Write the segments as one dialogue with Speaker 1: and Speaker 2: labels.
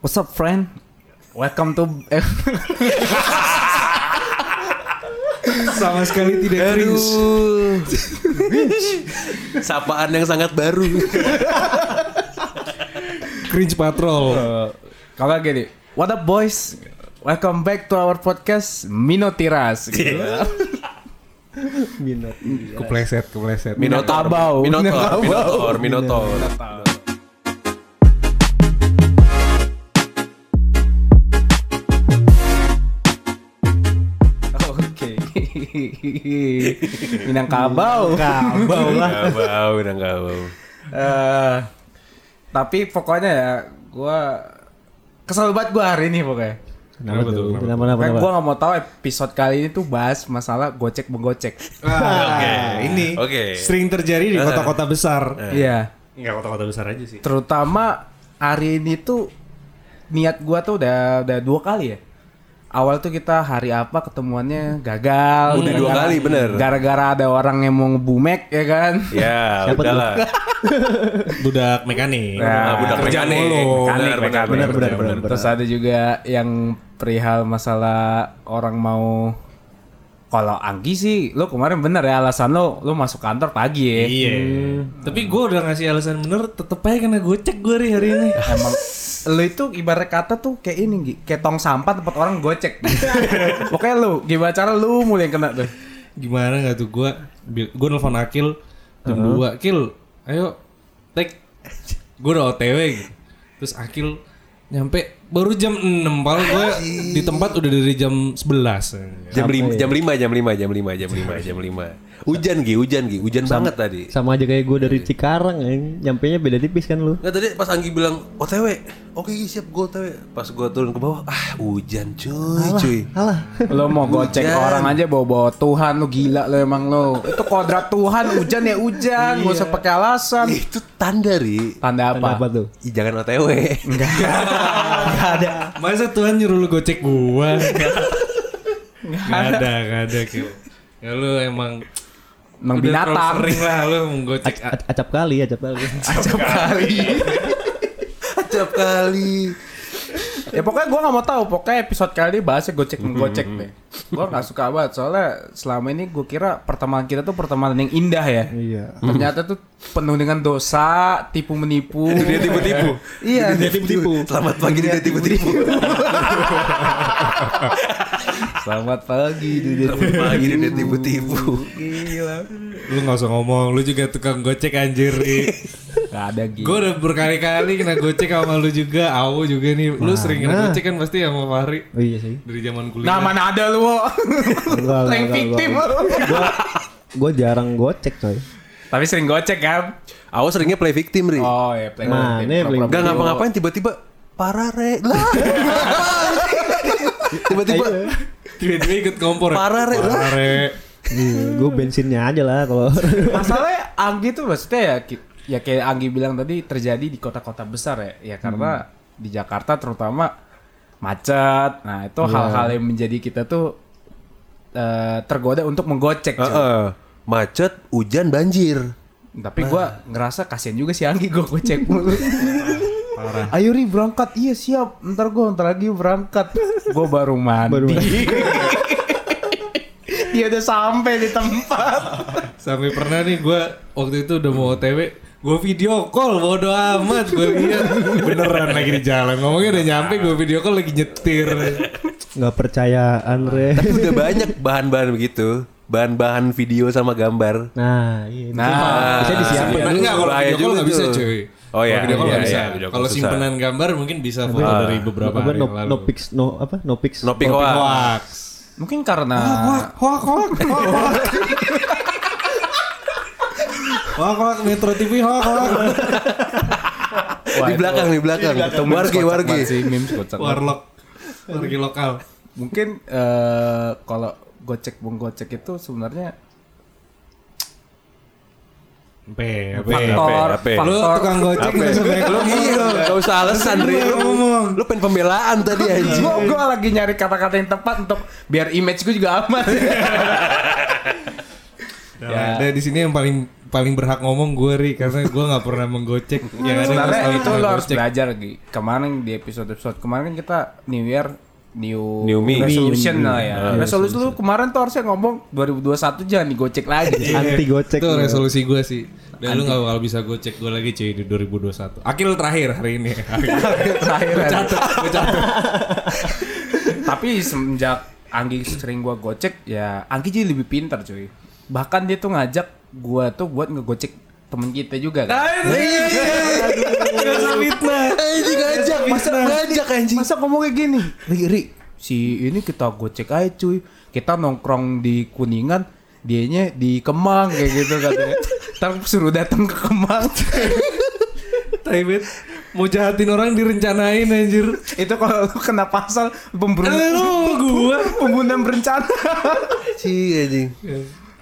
Speaker 1: What's up, friend? Welcome to
Speaker 2: sama sekali tidak cringe
Speaker 1: Aduh.
Speaker 3: Sapaan yang sangat baru.
Speaker 2: cringe patrol
Speaker 1: Kalau lagi nih, what up boys? Welcome back to our podcast Minotiras. Gitu.
Speaker 2: kepleset kepleset
Speaker 3: Minotaur.
Speaker 1: Minangkabau. Minangkabau.
Speaker 3: Minotaur. Minotaur. Minotaur. Iya.
Speaker 1: Oke. Minangkabau.
Speaker 3: Bau lah. Bau, udah nggak bau.
Speaker 1: Eh, tapi pokoknya ya, gue kesel banget gue hari ini pokoknya.
Speaker 2: kenapa tuh
Speaker 4: Kenapa, kenapa,
Speaker 1: Kayak
Speaker 4: kenapa?
Speaker 1: gue gak mau tahu episode kali ini tuh bahas masalah gocek menggocek.
Speaker 2: Oke, ini
Speaker 3: Oke.
Speaker 2: sering
Speaker 3: Eh.
Speaker 2: terjadi di kota-kota besar.
Speaker 1: Iya.
Speaker 2: Enggak kota-kota besar aja sih.
Speaker 1: terutama hari ini tuh niat gua tuh udah udah dua kali ya. Awal tuh kita hari apa ketemuannya gagal.
Speaker 3: Udah dua
Speaker 1: Gara-gara-
Speaker 3: kali, bener.
Speaker 1: Gara-gara ada orang yang mau ngebumek ya kan.
Speaker 3: Ya, udahlah.
Speaker 2: Budak mekanik.
Speaker 1: Nah,
Speaker 3: budak
Speaker 2: kerja
Speaker 3: mekanik.
Speaker 2: mulu.
Speaker 3: Benar, benar, benar, benar, benar.
Speaker 1: Terus ada juga yang perihal masalah orang mau kalau Anggi sih, lo kemarin bener ya alasan lo, lo masuk kantor pagi ya.
Speaker 2: Iya.
Speaker 3: Hmm.
Speaker 2: Tapi gue udah ngasih alasan bener, tetep aja kena gocek gue hari, hari ini.
Speaker 1: Emang lo itu ibarat kata tuh kayak ini, Gi. kayak tong sampah tempat orang gocek. Pokoknya lo, gimana cara lo mulai yang kena tuh?
Speaker 2: Gimana gak tuh gue? Gue nelfon Akil jam
Speaker 3: Uh-huh.
Speaker 2: 2. Akil, ayo take. Gue udah OTW gitu. Terus Akil nyampe baru jam 6 Padahal gue di tempat udah dari jam 11
Speaker 3: Jam lima, jam lima, jam lima, jam lima, jam lima, jam lima. Hujan Gi, hujan Gi, hujan banget tadi.
Speaker 4: Sama aja kayak gue dari Cikarang anjing. Nyampenya beda tipis kan lu.
Speaker 3: Nggak tadi pas Anggi bilang OTW, oke Gi, siap gue OTW. Pas gue turun ke bawah, ah hujan cuy, cuy.
Speaker 4: Alah.
Speaker 1: Lo mau gocek
Speaker 3: Hujan.
Speaker 1: orang aja bawa-bawa Tuhan lo gila lo emang lo. Itu kodrat Tuhan hujan ya hujan, gak usah pakai alasan.
Speaker 3: Itu tanda ri.
Speaker 1: Tanda apa?
Speaker 4: Apa? apa tuh?
Speaker 3: Ih, Jangan OTW.
Speaker 1: Gak ada.
Speaker 2: Masa Tuhan nyuruh lu gocek gua? gak ada, gak ada Kil. Ya lu emang
Speaker 1: Emang
Speaker 2: udah terlalu
Speaker 1: binatang.
Speaker 2: sering lah lu menggocek
Speaker 4: A- acap kali, acap kali.
Speaker 1: Acap kali.
Speaker 3: Setiap kali.
Speaker 1: ya pokoknya gue gak mau tahu. Pokoknya episode kali ini ya, bahasnya gocek menggocek deh. Gue gak suka banget soalnya selama ini gue kira pertemanan kita tuh pertemanan yang indah ya.
Speaker 4: Iya.
Speaker 1: Ternyata tuh penuh dengan dosa, tipu menipu.
Speaker 3: Dia tipu-tipu.
Speaker 1: Iya.
Speaker 3: Dia tipu-tipu. Selamat pagi dia tipu-tipu.
Speaker 1: Selamat pagi. Dunia.
Speaker 3: Selamat pagi dia tipu-tipu.
Speaker 2: Lu gak usah ngomong, lu juga tukang gocek anjir
Speaker 1: Gak ada gitu.
Speaker 2: Gue udah berkali-kali kena gocek sama lu juga, Awu juga nih Lu sering kena gocek kan pasti sama Fahri
Speaker 4: Oh iya sih.
Speaker 2: Dari zaman kuliah
Speaker 1: Nah mana ada lu.
Speaker 4: Enggak,
Speaker 1: Yang
Speaker 4: enggak, enggak,
Speaker 1: fiktif
Speaker 4: enggak.
Speaker 1: lu.
Speaker 4: Gua gua jarang gocek coy.
Speaker 1: Tapi sering gocek kan?
Speaker 3: Awas seringnya play victim, Ri.
Speaker 1: Oh ya, play
Speaker 4: Mana ya, play-
Speaker 3: Gak ngapa-ngapain tiba-tiba parah re lah. tiba-tiba
Speaker 2: Tiba-tiba ikut kompor
Speaker 3: Parah, Re.
Speaker 2: Parare
Speaker 4: Iya, gua bensinnya aja lah kalau
Speaker 1: Masalahnya Anggi tuh maksudnya ya ki- ya kayak Anggi bilang tadi terjadi di kota-kota besar ya. Ya karena di Jakarta terutama macet. Nah, itu hal-hal yang menjadi kita tuh eh, tergoda untuk menggocek. cuy.
Speaker 3: Heeh. macet, hujan, banjir.
Speaker 1: Tapi gua ngerasa kasihan juga si Anggi gua gocek mulu. Ayo Ri berangkat. Iya siap. Ntar gua ntar lagi berangkat. Gua baru mandi.
Speaker 4: baru
Speaker 1: Dia udah sampai di tempat.
Speaker 2: Sampai pernah nih gue waktu itu udah mau OTW, gue video call bodo amat gue lihat beneran lagi di jalan ngomongnya udah nyampe gue video call lagi nyetir
Speaker 4: nggak percayaan re.
Speaker 3: Tapi udah banyak bahan-bahan begitu. Bahan-bahan video sama gambar.
Speaker 4: Nah, iya.
Speaker 1: Nah,
Speaker 4: bisa disiapin.
Speaker 2: simpenan
Speaker 3: dulu.
Speaker 2: nggak kalau
Speaker 3: Bahaya
Speaker 2: video call
Speaker 3: juga
Speaker 2: nggak bisa
Speaker 3: tuh.
Speaker 2: cuy
Speaker 3: Oh, iya,
Speaker 2: Kalau video call Ah.
Speaker 3: iya,
Speaker 2: nggak
Speaker 3: iya,
Speaker 2: bisa
Speaker 3: video call
Speaker 2: kalau
Speaker 3: susah.
Speaker 2: simpenan gambar mungkin bisa foto dari beberapa
Speaker 4: Apa,
Speaker 2: hari
Speaker 4: no,
Speaker 2: yang lalu
Speaker 4: no pics no apa no pics
Speaker 3: Nopi koa.
Speaker 2: hoax
Speaker 1: Mungkin karena
Speaker 2: Ah, hoax hoax hoax hoax hoax Metro TV hoax hoax
Speaker 1: Wah,
Speaker 3: Di
Speaker 1: itu-
Speaker 3: belakang, di belakang.
Speaker 2: Iya,
Speaker 1: Itu memes
Speaker 3: Wargi,
Speaker 1: kocak
Speaker 3: wargi.
Speaker 1: banget sih, memes kocak banget.
Speaker 2: warlock wargi lokal
Speaker 1: Mungkin eh, kalau gocek menggocek itu sebenarnya
Speaker 2: P,
Speaker 1: faktor
Speaker 3: HP.
Speaker 2: Lu
Speaker 1: faktor
Speaker 2: tukang gocek nggak usah banyak ngomong
Speaker 3: Iya,
Speaker 2: dong.
Speaker 3: gak usah alasan, Ri. Lu,
Speaker 2: Ngomong.
Speaker 3: lu pengen pembelaan tadi, anjing.
Speaker 1: Gue lagi nyari kata-kata yang tepat untuk biar image gue juga aman.
Speaker 2: Ya, ada di sini yang paling paling berhak ngomong gue Ri karena gue nggak pernah menggocek. Yang ada gue
Speaker 1: Sebenarnya
Speaker 2: selalu
Speaker 1: itu
Speaker 2: pernah
Speaker 1: lo harus
Speaker 2: gocek.
Speaker 1: belajar Gi. Kemarin di episode-episode kemarin kan kita New Year New,
Speaker 3: New me.
Speaker 1: resolution lah ya. resolusi lu kemarin tuh harusnya ngomong 2021 jangan digocek lagi.
Speaker 4: Anti gocek.
Speaker 2: Itu resolusi gue sih. Dan lu gak bakal bisa gocek gue lagi cuy di 2021. Akil terakhir hari ini.
Speaker 1: Terakhir.
Speaker 2: Catat, gue catat.
Speaker 1: Tapi semenjak Anggi sering gua gocek ya Anggi jadi lebih pintar cuy. Bahkan dia tuh ngajak gua tuh buat ngegocek temen kita juga kan.
Speaker 3: Anjing ngajak, masa ngajak anjing.
Speaker 1: Masa ngomongnya gini? Ri, Ri, si ini kita gocek aja cuy. Kita nongkrong di Kuningan, dianya di Kemang kayak gitu katanya. Ntar suruh datang ke Kemang.
Speaker 2: Tai bet. Mau jahatin orang direncanain anjir.
Speaker 1: Itu kalau lu kena pasal pembunuhan
Speaker 2: Lu gue.
Speaker 1: pembunuhan berencana.
Speaker 3: Cih, anjing.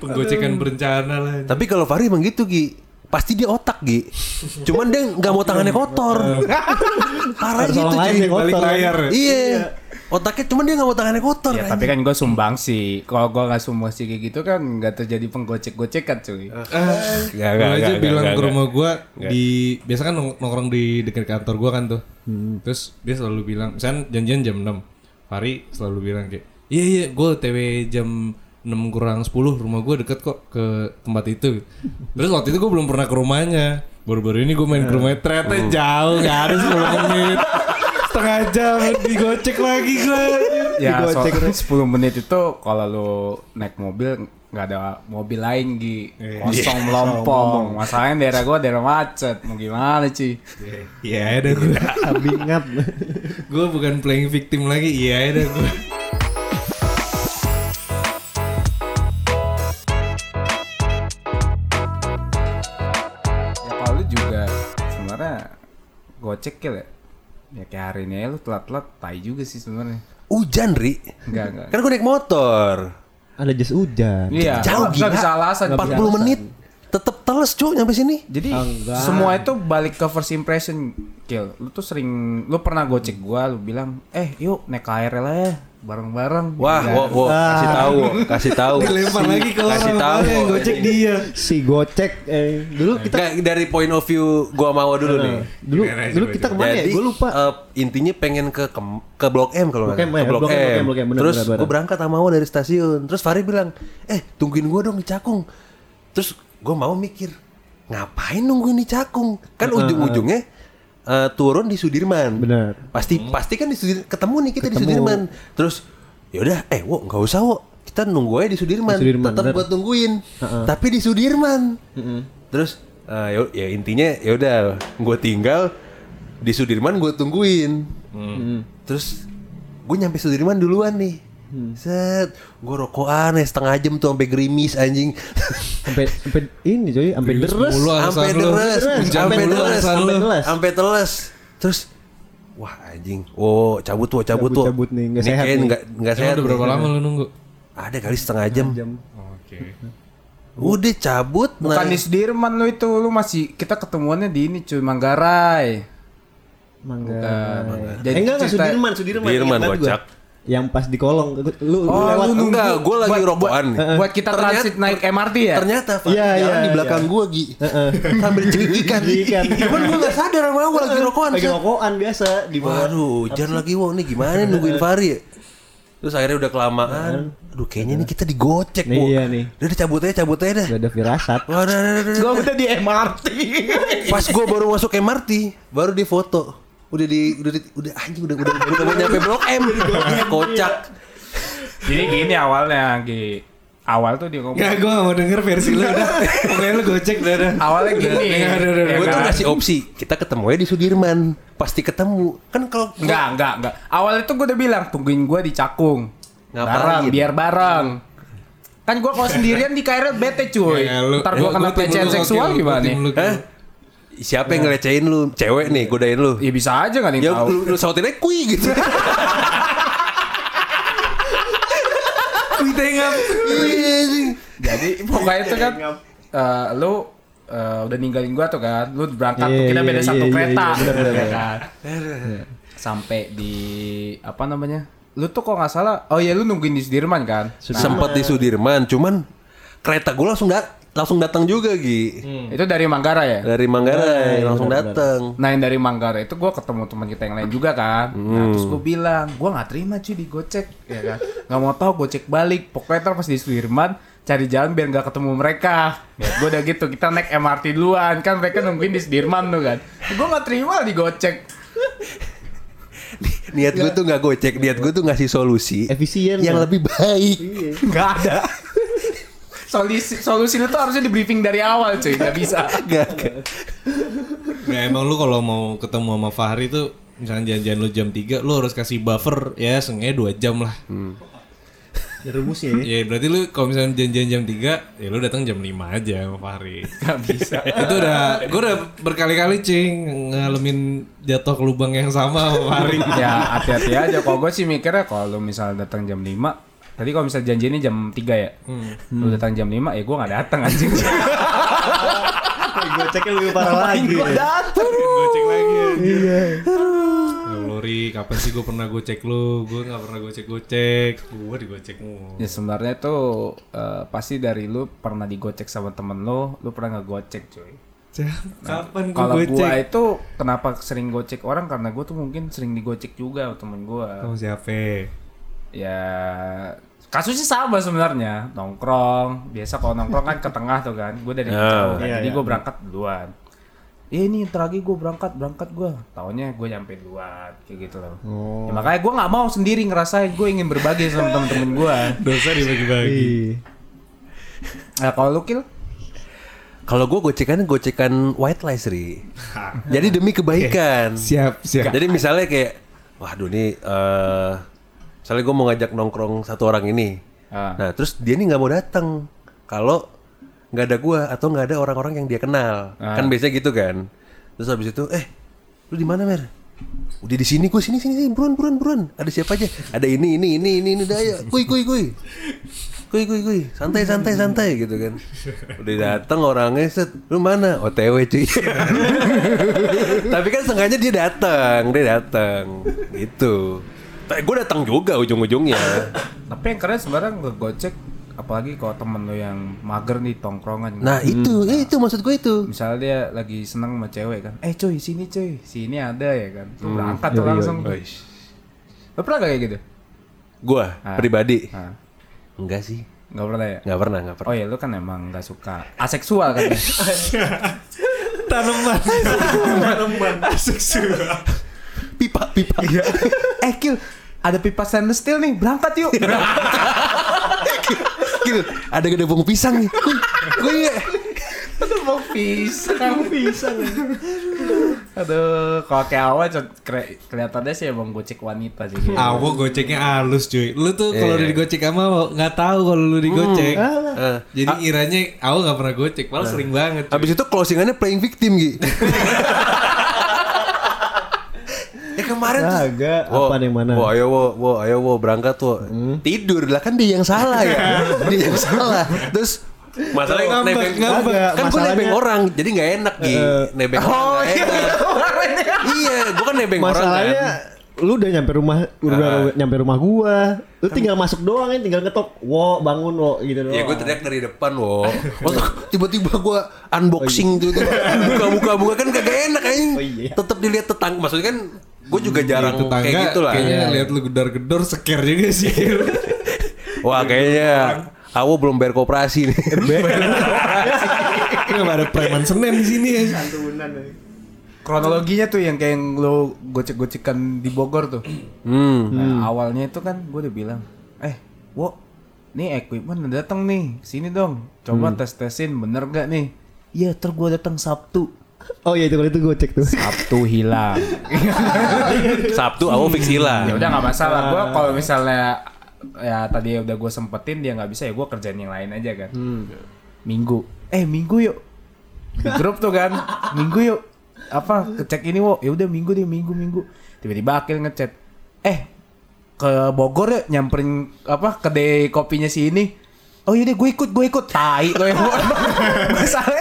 Speaker 2: Penggocekan berencana lah.
Speaker 3: Tapi kalau Fahri emang gitu Gi Pasti dia otak Gi Cuman dia nggak mau tangannya kotor Parah
Speaker 4: Harus
Speaker 3: gitu
Speaker 4: orang lain
Speaker 3: cuy
Speaker 4: yang kotor.
Speaker 2: Balik layar.
Speaker 3: Iya Otaknya cuman dia nggak mau tangannya kotor
Speaker 1: Ya tapi kan gue sumbang sih. Kalau gue nggak sumbang sih kayak gitu kan nggak terjadi penggocek-gocekan cuy.
Speaker 3: Gak,
Speaker 2: Gue Eh, aja bilang ke rumah gue di biasa kan nong- nongkrong di dekat kantor gue kan tuh. Terus dia selalu bilang, misalnya janjian jam 6. Fahri selalu bilang kayak, "Iya iya, gue TW jam 6 kurang 10 rumah gue deket kok ke tempat itu." Terus waktu itu gue belum pernah ke rumahnya. Baru-baru ini gue main ke rumahnya ternyata
Speaker 3: Uh.
Speaker 2: jauh, gak ada 10 menit. Setengah jam digocek lagi gue.
Speaker 1: ya so, 10 menit itu kalau lu naik mobil nggak ada mobil lain Gi kosong melompong masalahnya daerah gua daerah macet mau gimana sih
Speaker 2: Iya, ada gue.
Speaker 4: Bingat.
Speaker 2: gue bukan playing victim lagi iya ada gue
Speaker 1: ya kalau lu juga sebenarnya gocek Gil, ya ya kayak hari ini aja lu telat-telat tai juga sih sebenarnya
Speaker 3: Hujan Ri
Speaker 1: enggak enggak
Speaker 3: Kan gue naik motor
Speaker 4: Ada jas hujan.
Speaker 1: iya
Speaker 3: Jauh
Speaker 1: nggak
Speaker 3: gila
Speaker 1: bisa alasan Gi.
Speaker 3: 40 menit Tetep teles cuy nyampe sini
Speaker 1: jadi
Speaker 4: Enggak.
Speaker 1: semua itu balik ke first impression kill lu tuh sering lu pernah gocek gua lu bilang eh yuk naik KRL aja bareng-bareng
Speaker 3: Wah,
Speaker 1: Ya.
Speaker 3: wah, wah, kasih tahu, wo. kasih tahu.
Speaker 2: dilempar lagi ke orang
Speaker 3: kasih tahu.
Speaker 2: yang
Speaker 3: wo.
Speaker 2: gocek dia
Speaker 4: Si gocek eh dulu kita Eh,
Speaker 3: Nggak, dari point of view gua mau dulu nih.
Speaker 4: dulu
Speaker 2: Gimana sih,
Speaker 4: dulu kita kemana ya?
Speaker 3: Jadi
Speaker 4: Gue lupa.
Speaker 3: eh, intinya pengen ke Kem- ke Blok M kalau nggak
Speaker 4: Blok M
Speaker 3: salah.
Speaker 4: ya,
Speaker 3: Ke Blok
Speaker 4: Blok M, Blok M,
Speaker 3: M.
Speaker 4: Blok M, benar,
Speaker 3: Terus
Speaker 4: benar, benar.
Speaker 3: gue berangkat sama Awa dari stasiun. Terus Fahri bilang, "Eh, tungguin gue dong di Cakung." Terus gue mau mikir, ngapain nungguin di Cakung? Kan ujung-ujungnya eh, turun di Sudirman.
Speaker 4: Benar.
Speaker 3: Pasti pasti kan di Sudir- ketemu nih kita di Sudirman. Terus yaudah, eh, wo, nggak usah, wo. Kita nunggu aja di Sudirman.
Speaker 4: Di Sudirman,
Speaker 3: Tetap
Speaker 4: benar.
Speaker 3: gue tungguin. Tapi di Sudirman. Terus eh, ya- ya intinya ya udah gue tinggal di Sudirman gue tungguin. Terus gue nyampe Sudirman duluan nih.
Speaker 4: Mm.
Speaker 3: Set, gue rokok aneh setengah jam tuh sampai gerimis anjing.
Speaker 4: sampai sampai ini coy, sampai
Speaker 2: Gerimis
Speaker 4: deres.
Speaker 2: mulu, ah.
Speaker 3: Sampai
Speaker 2: alasan lu.
Speaker 3: deres,
Speaker 2: Hujan
Speaker 3: sampai
Speaker 2: mulu
Speaker 3: deres,
Speaker 2: alasan
Speaker 3: sampai
Speaker 4: lu.
Speaker 3: teles, sampai teles. Terus wah anjing, oh cabut tuh, cabut tuh.
Speaker 4: Cabut-cabut nih, nggak sehat
Speaker 3: kayaknya
Speaker 4: nih.
Speaker 3: nggak- nggak
Speaker 2: Emang
Speaker 3: sehat.
Speaker 2: udah
Speaker 3: nih.
Speaker 2: berapa lama lu nunggu
Speaker 3: Ada kali setengah jam.
Speaker 4: Jam.
Speaker 2: oke
Speaker 3: Udah cabut,
Speaker 1: Bukan
Speaker 3: naik-
Speaker 1: di Sudirman lu itu, lu masih kita ketemuannya di ini cuy Manggarai.
Speaker 4: Mangga.
Speaker 1: Jadi
Speaker 4: eh, enggak enggak
Speaker 1: cerita-
Speaker 4: Sudirman, Sudirman.
Speaker 3: Sudirman,
Speaker 4: Ingat
Speaker 3: kocak.
Speaker 4: gua. Yang pas di kolong lu, lu
Speaker 1: Oh,
Speaker 4: lewat.
Speaker 1: lu-
Speaker 3: enggak, gue lagi
Speaker 1: Buat-
Speaker 3: rokokan. nih.
Speaker 1: Buat kita
Speaker 3: Ternyata-
Speaker 1: transit naik MRT ya.
Speaker 3: Ternyata Fat,
Speaker 4: Iya,
Speaker 3: jalan
Speaker 4: iya,
Speaker 3: di belakang
Speaker 4: iya.
Speaker 3: gua Gi Sambil cekikikan
Speaker 4: Cekikikan.
Speaker 3: Cuman gua gak sadar sama gua lagi rokokan
Speaker 4: lagi
Speaker 3: Sat.
Speaker 4: rokokan biasa di bawah.
Speaker 3: Waduh hujan lagi wo Nih gimana nih nungguin Fahri ya Terus akhirnya udah kelamaan Aduh kayaknya nih kita digocek
Speaker 4: Nih,
Speaker 3: wo
Speaker 4: iya, nih.
Speaker 3: Udah deh, cabut aja cabut aja dah
Speaker 4: Gak ada firasat.
Speaker 3: Wah, dah, dah, dah, dah.
Speaker 1: Gua udah di MRT.
Speaker 3: Pas gua baru masuk MRT Baru di foto Udah di Udah di, udah anjing udah udah udah mau nyampe Blok M Kocak
Speaker 1: Jadi gini awalnya, Gi. Awal tuh dia ngomong.
Speaker 2: Nggak, gue gak mau denger versi lu udah pokoknya lu gocek udah udah
Speaker 1: Awalnya gini.
Speaker 2: Udah, udah, udah,
Speaker 1: Ya
Speaker 3: Gue tuh
Speaker 1: kan?
Speaker 3: ngasih opsi Kita ketemu aja di Sudirman Pasti ketemu Kan kalau
Speaker 1: Enggak, enggak, enggak. Awalnya tuh gua udah bilang tungguin gua di Cakung.
Speaker 3: Ngapain?
Speaker 1: Bareng, biar bareng. Kan gua kalau sendirian di KRL bete cuy.
Speaker 2: Ya, lu-
Speaker 1: Ntar gua
Speaker 2: lu-
Speaker 1: kena
Speaker 2: lu tim
Speaker 1: pelecehan
Speaker 2: lu,
Speaker 1: seksual
Speaker 2: Gokil. Lu
Speaker 1: gimana?
Speaker 2: tim lu, Gokil.
Speaker 3: Hah? Siapa yang ngelecehin lu? Cewek nih, godain lu.
Speaker 1: Ya bisa aja kan
Speaker 3: Ya
Speaker 1: yang tahu.
Speaker 3: lu, lu sautin aja kui gitu.
Speaker 2: Wih, tengap.
Speaker 3: Iya, anjing.
Speaker 1: Jadi pokoknya itu kan eh, lu eh, udah ninggalin gua tuh kan, lu berangkat tuh,
Speaker 4: Iya,
Speaker 1: kita beda
Speaker 4: iya,
Speaker 1: satu
Speaker 4: iya,
Speaker 1: kereta,
Speaker 4: iya, bener, bener, Iya.
Speaker 1: ya kan? Sampai di apa iya, namanya? Lu tuh kok nggak salah, oh ya lu nungguin di Sudirman kan?
Speaker 3: Sempat di Sudirman, cuman kereta gue langsung dat langsung datang juga Gi
Speaker 1: Nah, Itu dari Manggarai ya?
Speaker 3: dari Manggarai langsung datang
Speaker 1: Nah yang dari Manggarai itu gue ketemu teman kita yang lain juga kan Nah terus gue bilang Gue gak terima cuy di Gocek ya kan? Gak mau tahu Gocek balik Pokoknya ntar pas di Sudirman Cari jalan biar gak ketemu mereka ya, Gue udah gitu Kita naik MRT duluan Kan mereka nungguin di Sudirman tuh kan Gue gak terima di Gocek
Speaker 3: niat gue tuh nggak gocek niat gue tuh ngasih solusi
Speaker 4: Efisien
Speaker 3: yang
Speaker 4: lah.
Speaker 3: lebih baik
Speaker 1: Iya. Gak ada Solusi, solusi itu harusnya di briefing dari awal cuy Gak bisa
Speaker 3: Nggak- nggak.
Speaker 2: Nah emang lu kalau mau ketemu sama Fahri tuh misalnya janjian lu jam 3 lu harus kasih buffer ya sengaja 2 jam lah.
Speaker 4: Direbus ya.
Speaker 2: Ya berarti lu kalau misalnya janjian jam 3 ya lu datang jam 5 aja sama Fahri.
Speaker 1: Gak bisa
Speaker 2: Itu udah gua udah berkali-kali cing ngalamin jatuh ke lubang yang sama sama Fahri.
Speaker 1: Ya hati-hati aja Kalau gue sih mikirnya Kalau lu misalnya datang jam 5 Tadi kalau misalnya janji ini jam 3 ya Lu datang jam 5 Ya gue gak datang anjing
Speaker 4: Goceknya lebih parah lagi.
Speaker 2: Gocek lagi. Iya. Ya Allah, Ri, kapan sih gue pernah gocek lu? Gue gak pernah gocek-gocek. Gue digocek mulu.
Speaker 1: Ya sebenarnya tuh eh, pasti dari lu pernah digocek sama temen lu, lu pernah nggak gocek cuy.
Speaker 2: Kapan gue
Speaker 1: Kalau
Speaker 2: gocek?
Speaker 1: gua itu kenapa sering gocek orang karena gua tuh mungkin sering digocek juga sama temen gua.
Speaker 2: Sama siapa?
Speaker 1: Ya kasusnya sama sebenarnya nongkrong biasa kalau nongkrong kan ke tengah tuh kan gue dari jauh kan. jadi gue berangkat duluan Eh, ini ntar lagi gue berangkat berangkat gue taunya gue nyampe duluan kayak gitu loh Ya, makanya gue nggak mau sendiri ngerasain gue ingin berbagi sama temen-temen gue
Speaker 2: Dosa dibagi-bagi.
Speaker 1: nah, kalau lu kill
Speaker 3: kalau gue gocekan gocekan white lies Ri jadi demi kebaikan
Speaker 2: Siap, siap.
Speaker 3: Jadi misalnya kayak, waduh nih, eh misalnya gue mau ngajak nongkrong satu orang ini,
Speaker 1: Ah.
Speaker 3: nah terus dia nih nggak mau datang kalau nggak ada gue atau nggak ada orang-orang yang dia kenal,
Speaker 2: Ah.
Speaker 3: kan biasanya gitu kan. Terus habis itu, eh, lu di mana mer? Udah di sini gue sini sini sini buruan buruan buruan. Ada siapa aja? Ada ini ini ini ini ini udah ayo. Kuy kuy kuy. Kuy kuy kuy. Santai santai santai gitu kan. Udah datang orangnya set. Lu mana? OTW cuy. Tapi kan sengaja dia datang, dia datang, gitu. Tapi gue datang juga ujung-ujungnya.
Speaker 1: Tapi yang keren sebenarnya ngegocek apalagi kalau temen lo yang mager nih tongkrongan.
Speaker 3: Nah itu,
Speaker 1: Hmm.
Speaker 3: eh, itu maksud gue itu.
Speaker 1: Misalnya dia lagi seneng sama cewek kan. Eh cuy, sini cuy. Sini ada ya kan. Tuh berangkat tuh langsung. Lo pernah gak kayak gitu?
Speaker 3: Gue pribadi,
Speaker 1: Ah.
Speaker 3: enggak sih,
Speaker 1: Gak pernah ya?
Speaker 3: nggak pernah, nggak pernah.
Speaker 1: Oh ya lu kan emang gak suka aseksual kan ya? Oh,
Speaker 2: Tanaman. Tanaman.
Speaker 3: Pipa, pipa.
Speaker 1: eh Kil, ada pipa stainless steel nih, berangkat yuk.
Speaker 3: gitu, ada gede bung pisang nih. Kuy, kuy, ya.
Speaker 1: Aduh mau pisang pisang. Aduh, kalau kayak awal co- kre- kelihatannya sih emang gocek wanita sih. kayaknya.
Speaker 2: Aku goceknya halus cuy. Lu tuh
Speaker 3: Iya.
Speaker 2: kalau udah digocek sama Awo, nggak tahu kalau lu digocek.
Speaker 3: Eh,
Speaker 2: Jadi iranya aku nggak pernah gocek, malah sering banget. cuy.
Speaker 3: Habis itu closingannya playing victim gitu. ya kemarin tuh
Speaker 4: Agak
Speaker 3: Wo,
Speaker 4: apa yang mana? Hmm?
Speaker 3: Wo, ayo wo, wo, ayo wo, berangkat wo. Tidur lah kan dia yang salah ya. dia yang salah. Terus
Speaker 2: Tuh,
Speaker 3: masalahnya
Speaker 2: ngambek,
Speaker 3: nebeng
Speaker 2: ngambek.
Speaker 3: kan
Speaker 4: Agak,
Speaker 3: gue
Speaker 4: masalahnya- Eh,
Speaker 3: nebeng orang, jadi nggak enak gitu. nebeng orang nggak enak. iya, gue kan nebeng orang
Speaker 4: Masalahnya
Speaker 3: kan. Ah.
Speaker 4: lu udah nyampe rumah udah nyampe rumah gua. Lu tinggal masuk doang kan, tinggal ketok. Wo, bangun wo gitu doang.
Speaker 3: Ya gue teriak dari depan wo. Waktu tiba-tiba gue unboxing tuh, tuh. buka-buka-buka kan kagak enak aja.
Speaker 4: iya.
Speaker 3: Tetap dilihat tetangga, maksudnya kan gue juga jarang
Speaker 2: Tetangga
Speaker 3: kayak gitu lah.
Speaker 2: Kayaknya lihat lu gedor-gedor seker juga sih.
Speaker 3: Wah kayaknya Awo belum bayar koperasi nih.
Speaker 2: Kenapa ada preman Senin di sini ya?
Speaker 1: Kronologinya tuh yang kayak yang lo gocek-gocekan di Bogor tuh.
Speaker 3: hmm.
Speaker 1: Nah, awalnya itu kan gue udah bilang, eh, wo, nih equipment udah datang nih, sini dong, coba tes tesin bener gak nih? Hmm. Iya, ter gue datang Sabtu.
Speaker 4: Oh iya itu kalau itu gocek tuh.
Speaker 1: Sabtu hilang.
Speaker 3: Sabtu aku fix
Speaker 1: ya
Speaker 3: hilang.
Speaker 1: udah nggak masalah. Gue kalau misalnya ya tadi udah gue sempetin dia nggak bisa ya gue kerjain yang lain aja kan. Minggu, eh minggu yuk. Di grup tuh kan, minggu yuk. Apa kecek ini wo? Ya udah minggu deh minggu minggu. Tiba-tiba akil ngechat, eh ke Bogor ya nyamperin apa kedai kopinya si ini. Oh iya deh gue ikut gue ikut tai lo yang masalah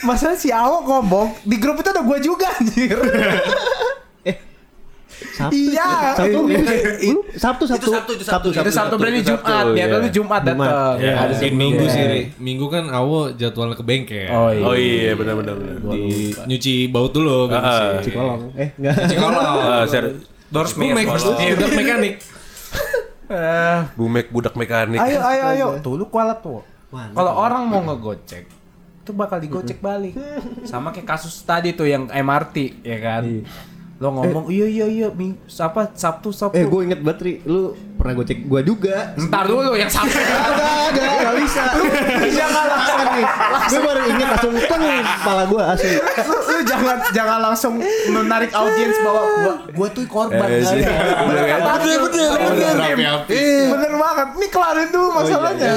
Speaker 1: masalah si Awo ngomong di grup itu ada gue juga anjir.
Speaker 4: Eh, Sabtu.
Speaker 1: Iya.
Speaker 4: Sabtu Minggu. Lu Sabtu Sabtu.
Speaker 3: Itu Sabtu, itu Sabtu,
Speaker 1: Itu Sabtu berarti
Speaker 3: Sabtu,
Speaker 1: Jumat ya,
Speaker 3: iya.
Speaker 1: lalu Jumat Ya. datang.
Speaker 4: Jumat.
Speaker 1: Iya, Ada
Speaker 2: Ada minggu sih, Ri. Minggu kan awo jadwalnya ke bengkel.
Speaker 1: Oh iya.
Speaker 3: Oh iya benar-benar.
Speaker 2: Di- nyuci baut dulu gitu sih.
Speaker 4: Cuci kolong. Eh enggak.
Speaker 3: Ah, ser-
Speaker 2: Doors gue make budak mekanik.
Speaker 1: Eh,
Speaker 3: Bumek budak mekanik. Eh,
Speaker 1: ayo ayo ayo. Tuh lu kualat tuh.
Speaker 4: Mantap.
Speaker 1: Kalau orang mau ngegocek, itu bakal digocek balik. Sama kayak kasus tadi tuh yang MRT, ya kan? Lo ngomong, iya iya iya, Ming- apa Sabtu Sabtu.
Speaker 4: Eh gue inget banget Ri, lu pernah gocek gua juga.
Speaker 1: Ntar dulu yang Sabtu.
Speaker 4: Enggak, enggak, enggak bisa.
Speaker 1: Lu jangan langsung nih.
Speaker 4: Gue baru inget langsung teng kepala gue asli.
Speaker 1: Lu, lu jangan jangan langsung menarik audiens bahwa gua gua tuh korban
Speaker 3: Eh,
Speaker 1: kan.
Speaker 3: sih. Bener, Iya. kan?
Speaker 1: Bener, bener, bener.
Speaker 2: Rapi-rapi.
Speaker 1: Bener banget. Nih kelarin dulu
Speaker 4: Oh, iya,
Speaker 1: masalahnya.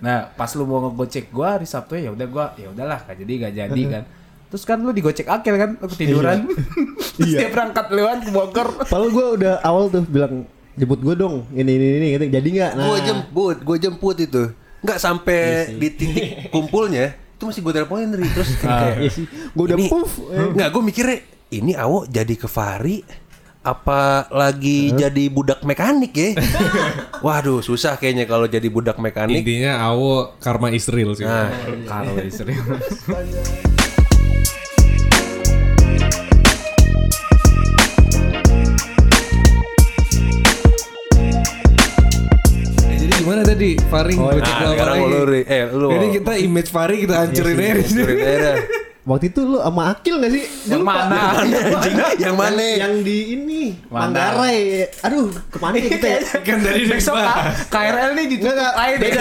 Speaker 1: Nah, pas lu mau ngegocek gua hari Sabtu ya udah gua ya udahlah gak jadi gak jadi kan. Terus kan lu digocek akil kan, lu ketiduran.
Speaker 4: Iya.
Speaker 1: Terus dia berangkat lewat ke Bogor.
Speaker 4: Padahal gue udah awal tuh bilang jemput gue dong ini ini ini gitu. jadi nggak nah
Speaker 3: Gue jemput, gue jemput itu. Nggak sampai di titik kumpulnya, itu masih gue teleponin dari terus kayak
Speaker 4: iya sih gue udah
Speaker 3: ini-
Speaker 4: puff eh.
Speaker 3: Nggak, gue mikirnya ini Awo jadi ke Fahri apa lagi jadi budak mekanik ya? Waduh, susah kayaknya kalau jadi budak mekanik.
Speaker 2: Intinya awo karma Israel sih.
Speaker 3: Nah,
Speaker 1: Kalau ya, serius.
Speaker 2: Eh, Jadi gimana tadi Faring
Speaker 4: Oh,
Speaker 2: gua
Speaker 3: nah,
Speaker 2: cek lama
Speaker 3: sekarang
Speaker 2: lagi.
Speaker 3: lu Ri. eh lu. iya,
Speaker 2: Jadi kita image Faring kita hancurin aja di sini.
Speaker 3: Surin aja dah.
Speaker 4: waktu itu lu sama Akil nggak sih
Speaker 1: Yang
Speaker 4: Gua lupa.
Speaker 1: mana?
Speaker 3: Anjing, yang mana?
Speaker 4: yang di ini
Speaker 1: Mana?
Speaker 4: Manggarai aduh kemana ya kita ya
Speaker 2: Kan tadi udah
Speaker 1: Besok
Speaker 2: dibahas.
Speaker 1: K- KRL nih ditutup lain ya.
Speaker 4: beda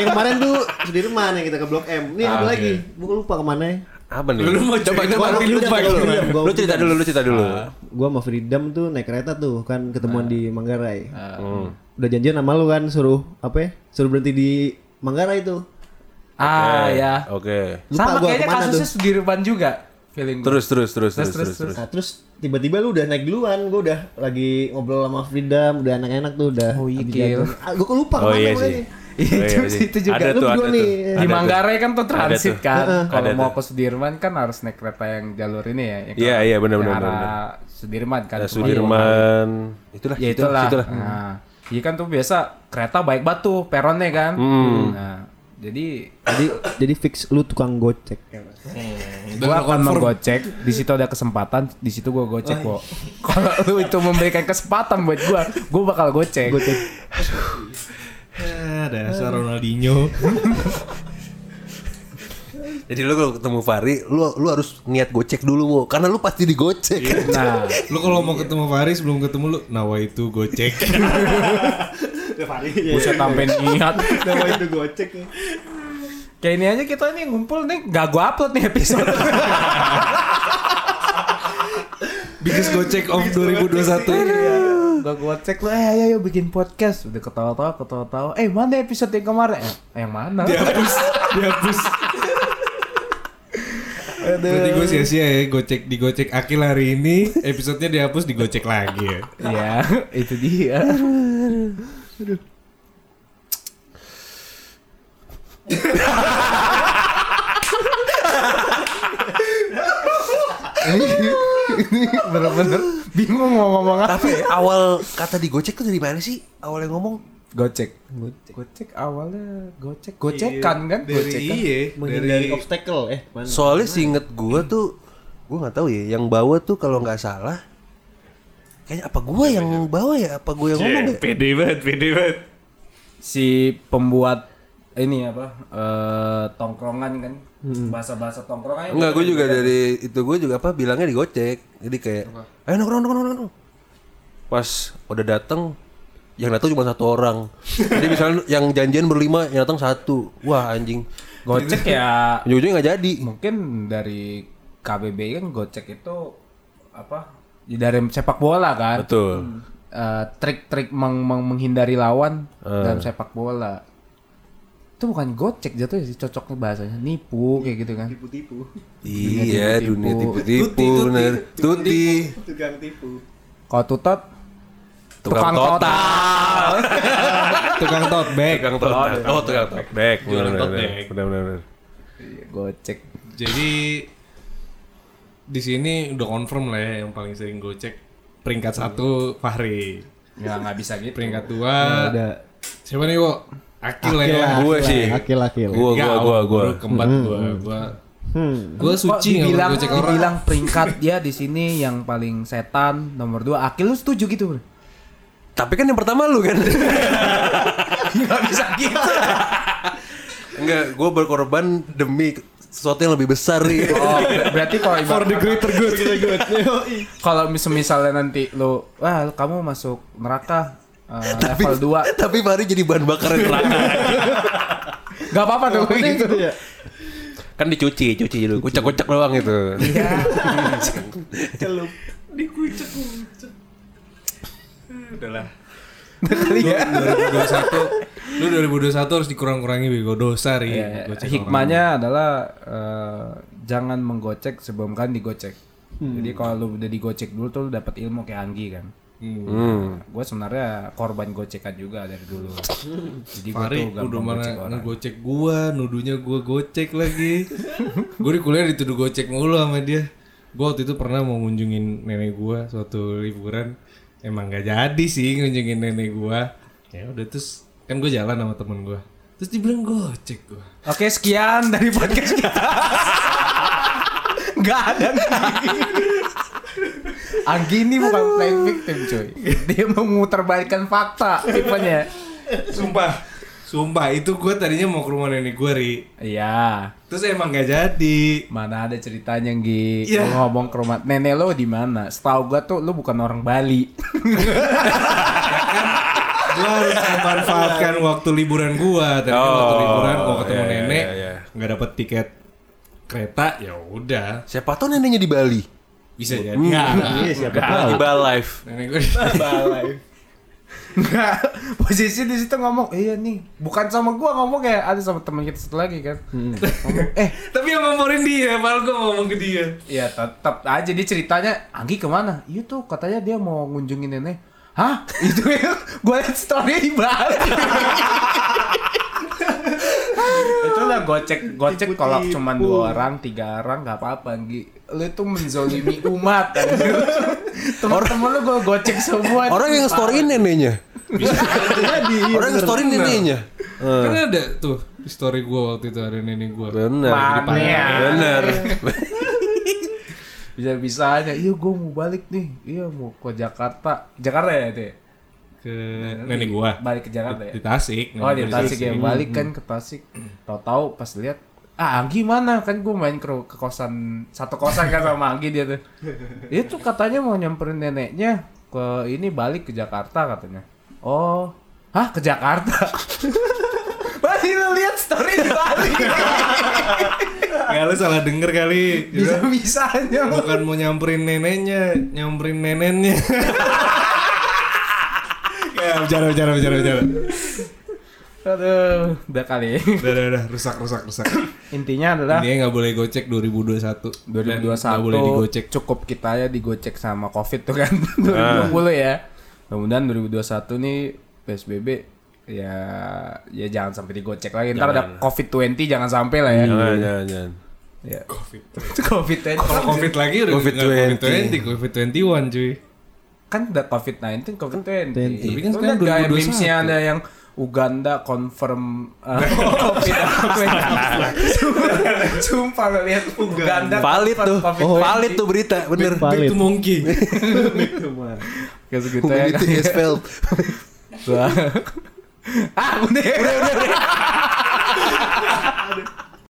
Speaker 4: yang kemarin tuh Sudirman yang kita ke Blok M ini ada
Speaker 2: Ah,
Speaker 4: lagi gue lupa kemana ya
Speaker 3: Apa nih?
Speaker 2: Lu mau coba coba
Speaker 4: Gua
Speaker 2: nanti
Speaker 4: lupa,
Speaker 2: lupa
Speaker 4: gua
Speaker 2: gimana.
Speaker 4: lupa.
Speaker 3: Lu cerita dulu, lu cerita dulu.
Speaker 4: gue sama Freedom tuh naik kereta tuh kan ketemuan
Speaker 1: Ah.
Speaker 4: di Manggarai
Speaker 3: Hmm.
Speaker 4: udah janjian sama lu kan suruh apa ya suruh berhenti di Manggarai tuh
Speaker 1: Ah
Speaker 3: Eh,
Speaker 1: ya.
Speaker 3: Oke.
Speaker 4: Lupa
Speaker 1: Sama
Speaker 4: gua
Speaker 1: kayaknya
Speaker 4: kemana
Speaker 1: kasusnya Sudirman juga. Feeling gua.
Speaker 3: Terus terus terus
Speaker 1: Terus,
Speaker 3: terus terus.
Speaker 1: terus,
Speaker 3: terus.
Speaker 4: Nah terus tiba-tiba lu udah naik duluan, gue udah lagi ngobrol sama Freedom, udah enak-enak tuh udah.
Speaker 1: Oh, iya,
Speaker 4: habis
Speaker 1: Gil.
Speaker 4: jalan. Ah, gue lupa
Speaker 3: Oh iya sih.
Speaker 4: mulainya.
Speaker 1: Iya,
Speaker 3: Oh,
Speaker 1: itu-
Speaker 3: sih.
Speaker 1: itu juga.
Speaker 3: Ada tuh,
Speaker 4: Lu
Speaker 3: ada
Speaker 4: berdua
Speaker 3: tuh.
Speaker 4: nih.
Speaker 3: Ada
Speaker 1: di
Speaker 3: tuh.
Speaker 1: Manggarai kan tuh
Speaker 3: Ada
Speaker 1: transit
Speaker 3: tuh.
Speaker 1: kan. Kalau
Speaker 3: Ada
Speaker 1: mau
Speaker 3: tuh.
Speaker 1: ke Sudirman kan harus naik kereta yang jalur ini ya. yang
Speaker 3: Iya,
Speaker 1: ke-
Speaker 3: iya, benar-benar,
Speaker 1: yang arah
Speaker 3: benar-benar.
Speaker 1: Sudirman kan.
Speaker 3: Ada
Speaker 1: Cuma
Speaker 3: Sudirman. Itulah,
Speaker 1: Ya itulah. Nah, iya kan tuh biasa kereta baik batu peronnya kan. Nah, jadi
Speaker 4: Jadi jadi fix lu tukang gocek.
Speaker 1: gua akan menggocek. Di situ ada kesempatan, di situ gua gocek kok. Kalau lu itu memberikan kesempatan buat gua, gua bakal
Speaker 4: Eh,
Speaker 1: gocek.
Speaker 2: Ah, Dasar Ronaldinho.
Speaker 3: Jadi lu kalau ketemu Fahri, lu lu harus niat gocek dulu, Wo. Karena lu pasti digocek.
Speaker 1: Nah,
Speaker 2: Lu kalau mau ketemu Faris belum ketemu lu Nawa itu gocek.
Speaker 1: buset sampai niat.
Speaker 4: Nama itu gocek ya.
Speaker 1: Kayak ini aja kita nih ngumpul nih gak gua upload nih episode.
Speaker 2: Biggest gocek of 2021.
Speaker 1: Iya. Gak gue cek lu, eh ayo, ayo bikin podcast Udah ketawa-tawa, ketawa-tawa Eh mana episode yang kemarin? Eh, yang mana?
Speaker 2: Dihapus, dihapus. Berarti gue sia-sia ya gocek digocek Akil hari ini episodenya dihapus digocek lagi ya.
Speaker 1: Iya, itu dia Ini bener-bener bingung mau ngomong apa
Speaker 3: Tapi awal kata digocek tuh dari mana sih? Awal yang ngomong
Speaker 1: Gocek Gocek awalnya gocek Gocekan kan?
Speaker 2: Iya, Dari
Speaker 1: Gocekan
Speaker 2: iya,
Speaker 4: Menghindari obstacle eh. Mana?
Speaker 3: soalnya seinget gua tuh gua nggak tahu ya, yang bawa tuh kalau nggak salah kayaknya apa gua yang bawa ya? Apa gua
Speaker 2: Iya.
Speaker 3: yang ngomong? ya?
Speaker 2: Pede banget, pede banget.
Speaker 1: si pembuat ini apa eh, tongkrongan kan bahasa-bahasa tongkrongan
Speaker 3: Eh, Enggak, gue juga dari itu gue juga apa bilangnya digocek. Jadi kayak ayo nongkrong nongkrong nongkrong. Pas udah dateng yang datang cuma satu orang. Jadi misalnya yang janjian berlima, yang datang satu. Wah anjing.
Speaker 1: gocek ya
Speaker 3: Ujung-ujungnya nggak jadi.
Speaker 1: mungkin dari KBB kan gocek itu apa ya dari sepak bola kan
Speaker 3: Betul.
Speaker 1: Eh, trik-trik meng- meng- menghindari lawan dalam sepak bola itu bukan gocek jatuh sih cocoknya bahasanya nipu kayak gitu kan
Speaker 4: Tipu-tipu.
Speaker 3: Iya, dunia
Speaker 2: Tuti,
Speaker 3: tipu-tipu
Speaker 2: tuti.
Speaker 3: bener. Tuti.
Speaker 4: Tukang tipu.
Speaker 1: kalau tutot
Speaker 3: Tukang
Speaker 1: total.
Speaker 3: total.
Speaker 2: Tukang tote bag.
Speaker 3: Tukang total. Oh, tukang tote bag.
Speaker 2: Jualan tote
Speaker 3: Bener-bener.
Speaker 2: bag.
Speaker 3: Bener-bener.
Speaker 1: Iya, gocek
Speaker 2: Jadi di sini udah confirm lah ya yang paling sering gocek peringkat satu Fahri,
Speaker 1: Ya nggak bisa gitu.
Speaker 2: peringkat dua
Speaker 4: Iya,
Speaker 2: siapa nih wo? Akil lah ya.
Speaker 3: Gue sih.
Speaker 4: Akil akil.
Speaker 3: Gua gua
Speaker 2: Gak,
Speaker 3: gua gua.
Speaker 2: bro, keempat gua gua
Speaker 4: Hmm.
Speaker 2: gua suci nggak
Speaker 1: dibilang,
Speaker 2: gua cek orang
Speaker 1: dibilang peringkat dia di sini yang paling setan nomor dua. Akil lu setuju gitu bro?
Speaker 3: Tapi kan yang pertama lu kan.
Speaker 1: Gak bisa gitu.
Speaker 3: Enggak, gue berkorban demi sesuatu yang lebih besar gitu. nih.
Speaker 1: Oh, ber- berarti kalau ibarat-
Speaker 2: greater good
Speaker 1: kalau mis- misalnya nanti lu, wah lu- kamu masuk neraka eh,
Speaker 3: tapi,
Speaker 1: level 2
Speaker 3: tapi Fahri jadi bahan bakar neraka.
Speaker 1: Gak apa-apa dong gitu.
Speaker 4: Gitu ya.
Speaker 3: kan dicuci, cuci dulu. Kucek-kucek doang gitu. itu.
Speaker 4: Celup.
Speaker 2: udahlah lu 2021 lu 2021 harus dikurang-kurangi bego dosa ri
Speaker 1: Ya,
Speaker 2: Gua cek
Speaker 1: hikmahnya adalah eh, jangan menggocek sebelum kan digocek. Jadi kalau lu udah digocek dulu tuh lu dapat ilmu kayak Anggi kan.
Speaker 3: Hmm.
Speaker 1: Gue sebenarnya korban gocekan juga dari dulu. Jadi gue
Speaker 2: Fahri
Speaker 1: tuh
Speaker 2: udah
Speaker 1: gampang
Speaker 2: mana
Speaker 1: gocek orang.
Speaker 2: ngegocek gua, nuduhnya gua gocek lagi. gua di kuliah dituduh gocek mulu sama dia. Gua waktu itu pernah mau ngunjungin nenek gua suatu liburan. Emang gak jadi sih ngunjungin nenek gua. Ya udah terus kan gua jalan sama temen gua. Terus dibilang gocek gua.
Speaker 1: Oke sekian dari podcast kita. Gak ada lagi. Anggi ini bukan playing victim cuy. Dia memutarbalikkan fakta tipenya.
Speaker 2: Sumpah. Sumpah itu gua tadinya mau ke rumah nenek gua, Ri.
Speaker 1: Iya.
Speaker 2: Terus emang gak jadi.
Speaker 1: Mana ada ceritanya Gi
Speaker 2: Iya.
Speaker 1: Lu ngomong ke rumah nenek lo di mana? Setahu gua tuh lu bukan orang Bali.
Speaker 2: gua harus memanfaatkan waktu liburan gua tadi kan
Speaker 3: Oh,
Speaker 2: waktu liburan gua ketemu
Speaker 3: iya, iya,
Speaker 2: nenek
Speaker 3: iya.
Speaker 2: nggak dapet tiket kereta ya udah
Speaker 3: Siapa tahu neneknya di Bali.
Speaker 2: bisa jadi nggak
Speaker 4: Iya siapa
Speaker 3: Nah,
Speaker 4: tahu.
Speaker 3: di Bali Live.
Speaker 2: nenek gua di-
Speaker 1: Enggak. Posisi di situ ngomong, "Iya nih, bukan sama gua ngomong ya, ada sama teman kita satu lagi kan." Ngomong, "Eh,
Speaker 2: tapi yang ngomongin dia malah gua ngomong ke dia
Speaker 1: ya tetap aja dia ceritanya, Anggi kemana? Iya tuh katanya dia mau ngunjungin nenek. Hah? Itu ya, gua liat story di Bali. itu lah gocek gocek kalau cuma dua orang tiga orang nggak apa-apa Anggi lu itu menzolimi umat anjir. teman-teman lu gue gocek semua
Speaker 3: Orang yang storyin neneknya.
Speaker 4: Jadi.
Speaker 3: Orang yang storyin neneknya.
Speaker 2: kan ada tuh di story gua waktu itu ada nenek gua
Speaker 3: Benar.
Speaker 1: Mana?
Speaker 3: Benar.
Speaker 1: bisa-bisa aja iya gue mau balik nih iya mau ke Jakarta Jakarta ya itu ya?
Speaker 2: ke nenek gua
Speaker 1: balik ke Jakarta ya
Speaker 2: di Tasik
Speaker 1: Oh di
Speaker 2: nenek gua
Speaker 1: Tasik ya balik kan ke Tasik. Tahu-tahu pas lihat ah Anggi mana kan gue main ke, ke kosan satu kosan kan sama Anggi dia tuh. Dia tuh katanya mau nyamperin neneknya ke ini balik ke Jakarta katanya. Oh, hah ke Jakarta? Masih lu lihat story di Bali
Speaker 2: nggak lu salah denger kali Gitu.
Speaker 1: bisa-bisanya. lu.
Speaker 2: bukan mau nyamperin neneknya nyamperin nenennya ya bicara bicara bicara bicara
Speaker 1: Aduh, udah kali.
Speaker 2: udah udah udah rusak rusak rusak
Speaker 1: Intinya adalah
Speaker 2: ini nggak boleh gocek 2021 Dan
Speaker 1: 2021
Speaker 2: nggak boleh digocek
Speaker 1: cukup kita ya digocek sama covid tuh kan 2020 ya mudah-mudahan 2021 nih psbb ya ya jangan sampai digocek lagi ntar ada covid 20 jangan sampai lah ya
Speaker 3: Jangan, jangan, jangan.
Speaker 1: ya covid 20
Speaker 2: kalau covid lagi udah
Speaker 3: Covid
Speaker 2: nggak
Speaker 3: 20.
Speaker 2: covid 21 cuy
Speaker 1: kan udah covid 19 covid 20
Speaker 2: Tapi
Speaker 1: tapi
Speaker 2: kan
Speaker 1: kan
Speaker 2: sekarang
Speaker 1: gaya
Speaker 2: 2021.
Speaker 1: memesnya ada yang Uganda confirm uh, covid 20. Sumpah lo lihat Uganda
Speaker 3: Valid
Speaker 1: confirm COVID-19.
Speaker 3: tuh. Oh.
Speaker 4: Oh, iya.
Speaker 3: Valid tuh berita, bener.
Speaker 2: itu
Speaker 4: Valid.
Speaker 2: monkey
Speaker 1: Kayak segitu ya
Speaker 3: Humanity
Speaker 1: kan.
Speaker 3: has failed.
Speaker 1: Wah. ah, udah. Udah, udah.